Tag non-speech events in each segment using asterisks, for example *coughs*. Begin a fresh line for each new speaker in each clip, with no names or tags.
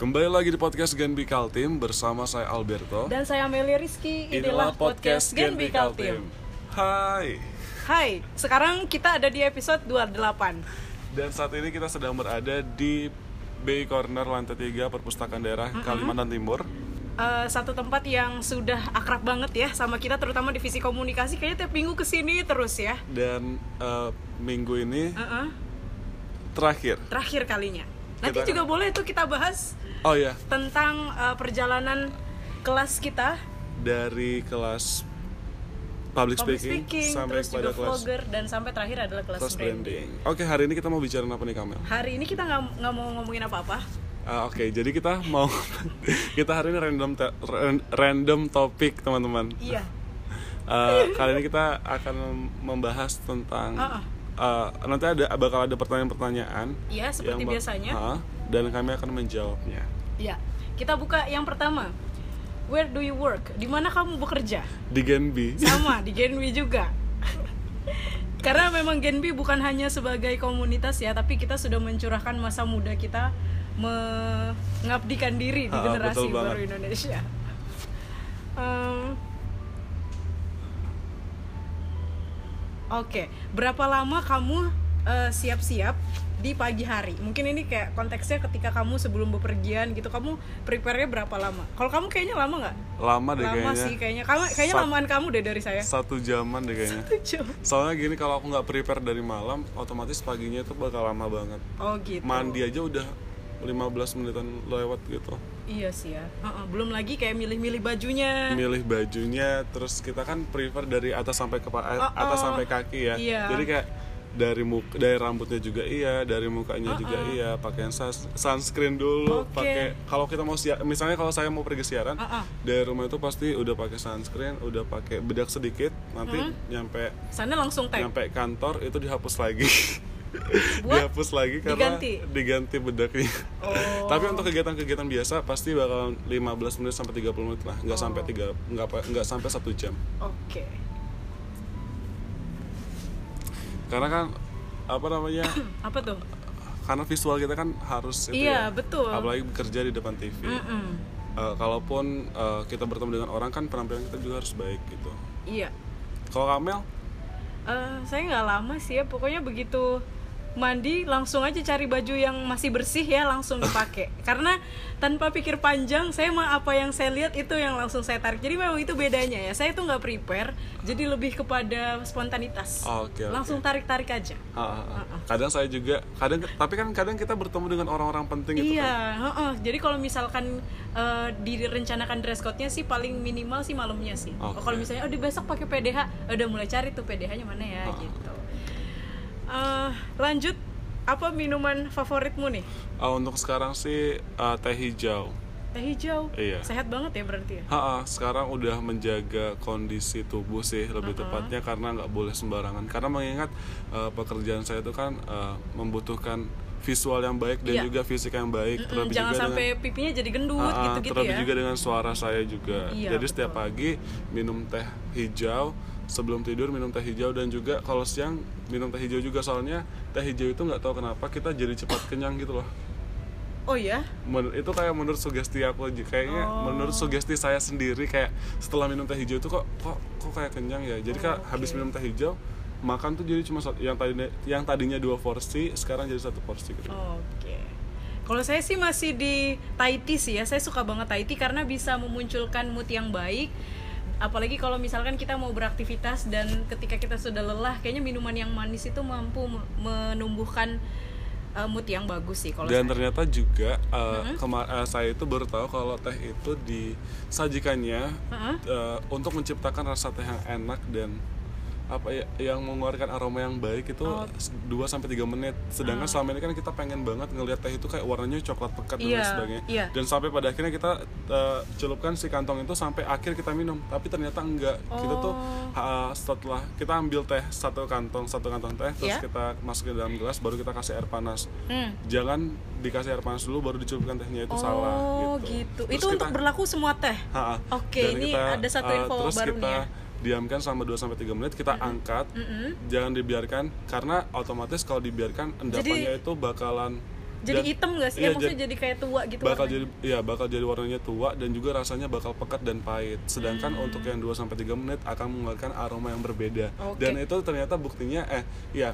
Kembali lagi di podcast Genbi Kaltim bersama saya Alberto.
Dan saya Amelia Rizky,
Inilah podcast Genbi Kaltim. Hai.
Hai, sekarang kita ada di episode 28.
Dan saat ini kita sedang berada di Bay Corner lantai 3 Perpustakaan Daerah Kalimantan Timur.
Eh, satu tempat yang sudah akrab banget ya sama kita terutama divisi komunikasi kayaknya tiap minggu kesini terus ya.
Dan eh, minggu ini
Heeh,
terakhir.
terakhir kalinya. Nanti
Kita-
juga boleh tuh kita bahas
Oh ya,
tentang eh, perjalanan kelas kita
dari kelas public,
public
speaking,
speaking,
sampai
terus juga
kepada kelas
vlogger dan sampai terakhir adalah kelas,
kelas
branding.
branding. Oke, hari ini kita mau bicara apa nih, Kamel?
Hari ini kita nggak nggak mau ngomongin apa-apa.
Ah, Oke, jadi kita mau *laughs* kita hari ini random te- ran- random topik teman-teman.
Iya.
Eh, kali ini kita akan mem- membahas tentang
Ah, ah.
eh, nanti ada bakal ada pertanyaan-pertanyaan.
Iya, seperti
yang bak-
biasanya.
Ah, dan kami akan menjawabnya.
Iya. Kita buka yang pertama. Where do you work? Di mana kamu bekerja?
Di Gen B.
sama di Genwi juga *laughs* karena memang Genbi bukan hanya sebagai komunitas ya tapi kita sudah mencurahkan masa muda kita mengabdikan diri di
Ah,
generasi
betul banget.
baru Indonesia Em, oke berapa lama kamu eh, siap-siap di pagi hari mungkin ini kayak konteksnya ketika kamu sebelum bepergian gitu kamu prepare-nya berapa lama kalau kamu kayaknya lama nggak
Lama deh
lama
kayaknya.
sih kayaknya kamu kayaknya
Sat-
lamaan kamu deh dari saya
Satu jaman deh kayaknya.
Tujuh.
Soalnya gini kalau aku nggak prepare dari malam, otomatis paginya itu bakal lama banget.
oh gitu
Mandi aja udah 15 menitan lewat gitu.
iya sih ya Heeh, belum lagi kayak milih-milih bajunya
milih bajunya terus kita kan prefer dari atas sampai ke eh,
Oh,
atas
oh.
sampai kaki ya
Iya.
jadi kayak dari muka dari rambutnya juga iya dari mukanya juga iya pakaian suns- sunscreen dulu
Oh, Oke.
pakai kalau kita mau siar misalnya kalau saya mau pergi siaran
Ah, ah.
dari rumah itu pasti udah pakai sunscreen udah pakai bedak sedikit nanti
Mm-hmm.
nyampe
sana langsung tag
nyampe kantor itu dihapus lagi
Buat?
dihapus lagi karena
Diganti? Oh.
diganti bedaknya tapi untuk kegiatan-kegiatan biasa pasti bakalan 15 menit sampai 30 menit lah nggak
Oh.
sampai tiga nggak pa- nggak sampai satu jam
oke
karena kan apa
*coughs*
namanya
Hmm, apa tuh
karena visual kita kan harus itu
Iya,
ya.
betul.
apalagi bekerja di depan TV
Mm-mm.
Eh, kalaupun eh, kita bertemu dengan orang kan penampilan kita juga harus baik gitu
iya
kalau Kamel
Eh, saya nggak lama sih ya pokoknya begitu mandi langsung aja cari baju yang masih bersih ya
*laughs*
langsung dipakai karena tanpa pikir panjang saya mah apa yang saya lihat itu yang langsung saya tarik jadi memang itu bedanya ya saya tuh nggak prepare jadi lebih kepada spontanitas
Iya, Oke, oke.
langsung tarik tarik aja
Ah, ah, ah. kadang saya juga kadang tapi kan kadang kita bertemu dengan orang-orang penting gitu
Iya, heeh. jadi kalau misalkan eh, direncanakan dress code-nya sih paling minimal sih malamnya sih. Oh,
Oke.
Kalau misalnya, oh di besok pakai PDH, udah mulai cari tuh PDH-nya mana ya
Ah.
gitu. Eh, lanjut, apa minuman favoritmu nih?
Ah, untuk sekarang sih ah, teh hijau.
Teh hijau.
Iya.
Sehat banget ya berarti ya.
Ha, ah, sekarang udah menjaga kondisi tubuh sih lebih tepatnya karena nggak boleh sembarangan. Karena mengingat eh, pekerjaan saya itu kan eh, membutuhkan visual yang baik dan
Iya.
juga fisik yang baik.
Mm,
terlebih
jangan
juga
sampai
dengan-
pipinya jadi gendut
Ah, ah,
gitu-gitu
terlebih
ya.
juga dengan suara saya juga.
Iya,
Jadi setiap
betul.
pagi minum teh hijau sebelum tidur minum teh hijau dan juga kalau siang minum teh hijau juga soalnya teh hijau itu nggak tahu kenapa kita jadi cepat kenyang gitu loh.
Oh ya,
Men- itu kayak menurut sugesti aku aja kayaknya menurut sugesti saya sendiri kayak setelah minum teh hijau itu kok kok kok kayak kenyang ya jadi kayak habis minum teh hijau makan tuh jadi cuma satu- yang tadinya yang tadinya dua porsi sekarang jadi satu porsi gitu
Oke. Kalau saya sih masih di Tahiti sih ya. Saya suka banget Tahiti karena bisa memunculkan mood yang baik. Apalagi kalau misalkan kita mau beraktivitas dan ketika kita sudah lelah, kayaknya minuman yang manis itu mampu me- menumbuhkan uh, mood yang bagus sih kalau
dan
saya.
ternyata juga eh, kema- eh, saya itu baru tahu kalau teh itu disajikannya
Heeh.
eh, untuk menciptakan rasa teh yang enak dan apa ya yang mengeluarkan aroma yang baik itu
Oh.
2 sampai 3 menit.
Ah.
Sedangkan selama ini kan kita pengen banget ngelihat teh itu kayak warnanya coklat pekat dan
Iya,
lain sebagainya.
iya.
Dan sampai pada akhirnya kita eh, celupkan si kantong itu sampai akhir kita minum. Tapi ternyata enggak. Kita
Oh.
tuh eh, setelah kita ambil teh satu kantong, satu kantong teh terus
Iya.
kita masukin dalam gelas baru kita kasih air panas
Hmm.
jangan dikasih air panas dulu baru dicelupkan tehnya itu
Oh,
salah gitu.
gitu.
Terus
Itu untuk
kita-
berlaku semua teh.
Ha-ha.
Oke,
Dan
ini ada satu
eh,
info Hmm.
terus
baru nih
kita
ya.
diamkan selama 2 sampai 3 menit kita angkat
Mm-mm.
jangan dibiarkan karena otomatis kalau dibiarkan endapannya itu bakalan dan-
jadi hitam gak sih?
iya,
ya, maksudnya
jadi-
jadi kayak tua gitu
bakal
warnanya.
jadi ya bakal jadi warnanya tua dan juga rasanya bakal pekat dan pahit. Sedangkan
Hmm.
untuk yang 2 sampai 3 menit akan mengeluarkan aroma yang berbeda.
Oke.
Dan itu ternyata buktinya eh ya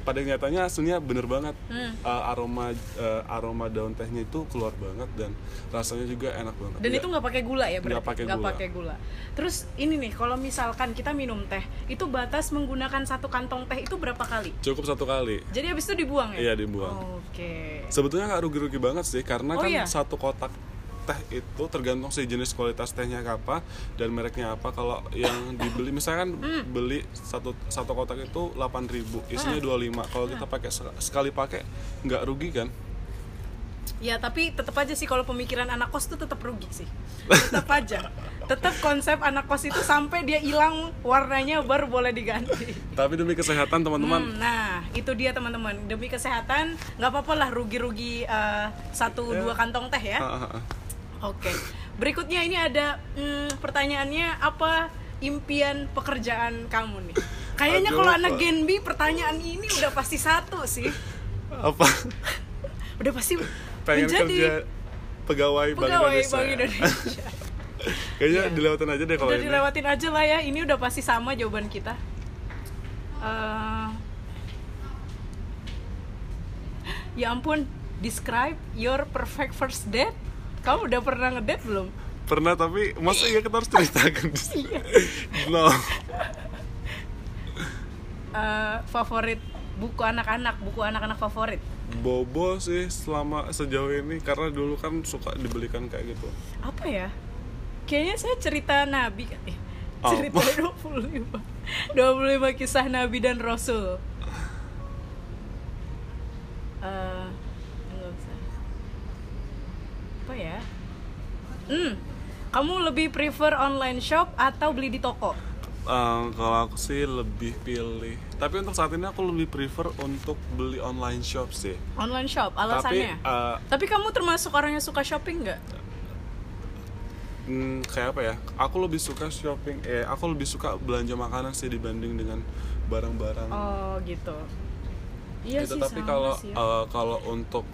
pada nyatanya aslinya bener banget Eh,
Hmm.
aroma eh, aroma daun tehnya itu keluar banget dan rasanya juga enak banget.
Dan
Ya,
itu nggak pakai gula ya berarti?
Nggak pakai gula.
pakai gula. Terus ini nih, kalau misalkan kita minum teh, itu batas menggunakan satu kantong teh itu berapa kali?
cukup satu kali.
Jadi abis itu dibuang ya?
Iya dibuang.
Oke.
Sebetulnya nggak rugi-rugi banget sih karena
Oh,
kan
iya?
satu kotak teh itu tergantung si jenis kualitas tehnya apa dan mereknya apa. Kalau yang dibeli misalkan
Hmm.
beli satu satu kotak itu 8.000, isinya
Ah.
25. Kalau kita pakai se- sekali pakai nggak rugi kan?
Ya tapi tetap aja sih kalau pemikiran anak kos tuh tetap rugi sih.
*laughs*
Tetap aja. Tetap konsep anak kos itu sampai dia hilang warnanya baru boleh diganti.
Tapi demi kesehatan teman-teman,
Hmm, nah itu dia teman-teman demi kesehatan nggak apa-apa lah rugi-rugi eh, satu dua kantong teh ya.
Iya. ah, ah, ah.
Oke. Berikutnya ini ada hmm, pertanyaannya apa impian pekerjaan kamu nih? Kayaknya
Aduh,
kalau anak
Pak.
Genbi pertanyaan ini udah pasti satu sih. *laughs*
apa
Udah pasti
pengen
menjadi
kerja pegawai, Bank
pegawai
Indonesia.
Bank
*laughs*
Indonesia. Iya.
Kayaknya dilewatin aja deh kalau
udah
ini.
dilewatin aja lah ya ini udah pasti sama jawaban kita Eh, ya ampun describe your perfect first date kamu udah pernah ngedate belum
Pernah tapi masa iya kita harus
*laughs*
ceritakan.
Iya.
*laughs* no.
Eh, favorit buku anak-anak buku anak-anak favorit
Bobo sih selama sejauh ini karena dulu kan suka dibelikan kayak gitu.
apa ya kayaknya saya cerita nabi eh,
Apa? *laughs*
cerita 25 25 kisah nabi dan rasul Eh, nggak usah. apa ya hmm kamu lebih prefer online shop atau beli di toko
Eh, kalau aku sih lebih pilih. Tapi untuk saat ini aku lebih prefer untuk beli online shop sih.
online shop alasannya
Tapi eh,
tapi kamu termasuk orang yang suka shopping nggak
hmm, kayak apa ya? Aku lebih suka shopping. Eh, aku lebih suka belanja makanan sih dibanding dengan barang-barang.
oh gitu iya
gitu.
sih
Tapi
sama
kalau
sih ya.
eh, kalau untuk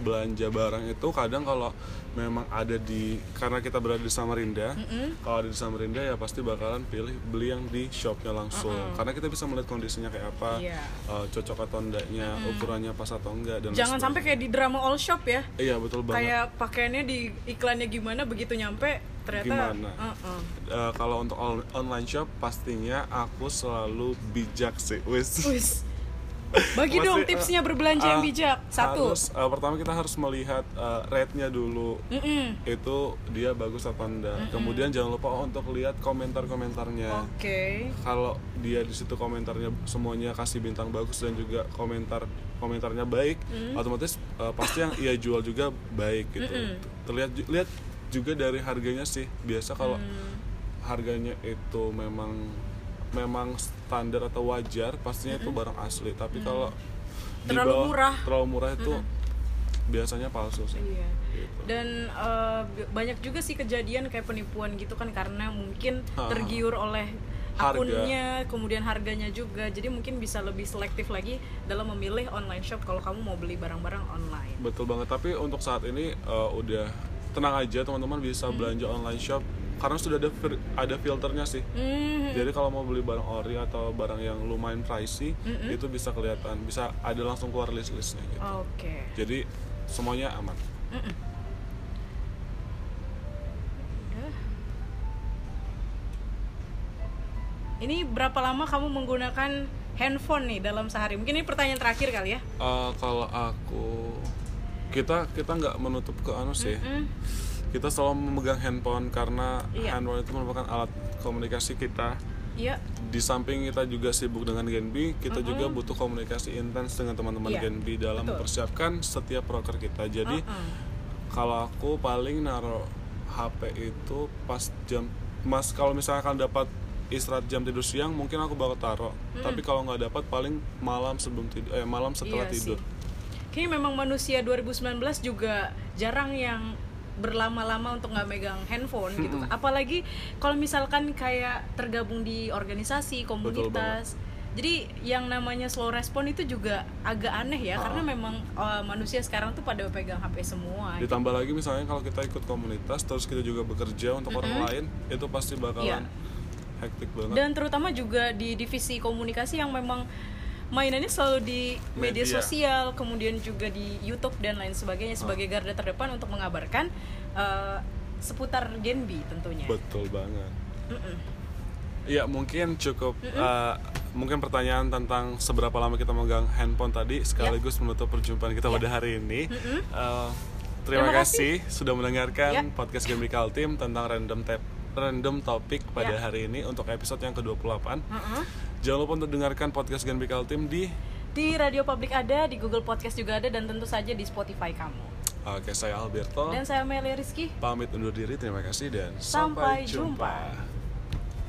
belanja barang itu kadang kalau memang ada di karena kita berada di Samarinda, kalau ada di Samarinda ya pasti bakalan pilih beli yang di shopnya langsung karena kita bisa melihat kondisinya kayak apa,
Iya.
eh, cocok atau enggaknya, ukurannya pas atau enggak dan lain
jangan sampai kayak di drama all shop ya
sebagainya. iya betul banget.
kayak pakaiannya di iklannya gimana begitu nyampe ternyata uh-uh.
Gimana?
Heeh.
Eh, kalau untuk on- online shop pastinya aku selalu bijak sih, wis. *laughs*
Wis. bagi
Pasti,
dong
eh,
tipsnya berbelanja
ah,
yang bijak satu
Harus, eh, pertama kita harus melihat eh, rate-nya dulu.
Mm-mm.
itu dia bagus atau enggak. Kemudian jangan lupa untuk lihat komentar-komentarnya.
oke
Kalau dia di situ komentarnya semuanya kasih bintang bagus dan juga komentar komentarnya baik,
Hmm.
otomatis eh, pasti yang ia jual juga baik gitu. Terlihat ju- lihat juga dari harganya sih. Biasa kalau
Hmm.
harganya itu memang memang standar atau wajar, pastinya itu barang asli. Tapi kalau di
Hmm. Terlalu
bawah-
murah. Hmm.
terlalu murah itu biasanya palsu sih.
iya
Gitu.
dan eh, b- banyak juga sih kejadian kayak penipuan gitu kan karena mungkin
Ha.
tergiur oleh
Ah. Harga.
akunnya kemudian harganya juga jadi mungkin bisa lebih selektif lagi dalam memilih online shop kalau kamu mau beli barang-barang online
Betul banget, tapi untuk saat ini uh, udah tenang aja teman-teman bisa
Hmm.
belanja online shop karena sudah ada fir- ada filternya sih.
Hmm,
Jadi kalau mau beli barang ori atau barang yang lumayan pricey
Hmm.
itu bisa kelihatan, bisa ada langsung keluar list-listnya gitu.
oke
Jadi semuanya aman.
Udah. Ini berapa lama kamu menggunakan handphone nih dalam sehari? Mungkin ini pertanyaan terakhir kali ya.
Uh, kalau aku kita kita nggak menutup ke anu sih.
Hmm,
Kita selalu memegang handphone karena
Iya.
handphone itu merupakan alat komunikasi kita.
Iya.
di samping kita juga sibuk dengan Genbi, kita juga butuh komunikasi intens dengan teman-teman
Iya,
Genbi dalam
betul.
mempersiapkan setiap proker kita. Jadi
Heeh.
kalau aku paling naruh HP itu pas jam Mas kalau misalkan dapat istirahat jam tidur siang mungkin aku bakal taruh. Tapi kalau nggak dapat paling malam sebelum tidur eh malam setelah
Iya sih.
tidur.
Kayaknya memang manusia 2019 juga jarang yang berlama-lama untuk nggak megang handphone gitu apalagi kalau misalkan kayak tergabung di organisasi komunitas jadi yang namanya slow respon itu juga agak aneh ya karena memang eh, manusia sekarang tuh pada pegang HP semua gitu.
ditambah lagi misalnya kalau kita ikut komunitas terus kita juga bekerja untuk orang lain itu pasti bakalan
Iya.
hektik banget
dan terutama juga di divisi komunikasi yang memang mainannya selalu di media,
Media.
sosial kemudian juga di YouTube dan lain sebagainya
Oh.
sebagai garda terdepan untuk mengabarkan eh, seputar Genbi tentunya
Betul banget. Iya mungkin cukup eh, mungkin pertanyaan tentang seberapa lama kita megang handphone tadi sekaligus menutup perjumpaan kita pada hari ini. Eh, Iya. terima,
Terima
kasih Iya. sudah mendengarkan
Ya.
podcast Gemical Team tentang random tap random topik pada
Ya.
hari ini untuk episode yang ke-28.
Mm-mm.
Jangan lupa untuk dengarkan podcast Gemical Team di
di radio publik ada di Google Podcast juga ada dan tentu saja di Spotify kamu
Oke, saya Alberto.
dan saya Melia Rizky
Pamit undur diri. Terima kasih dan
Sampai jumpa.
jumpa.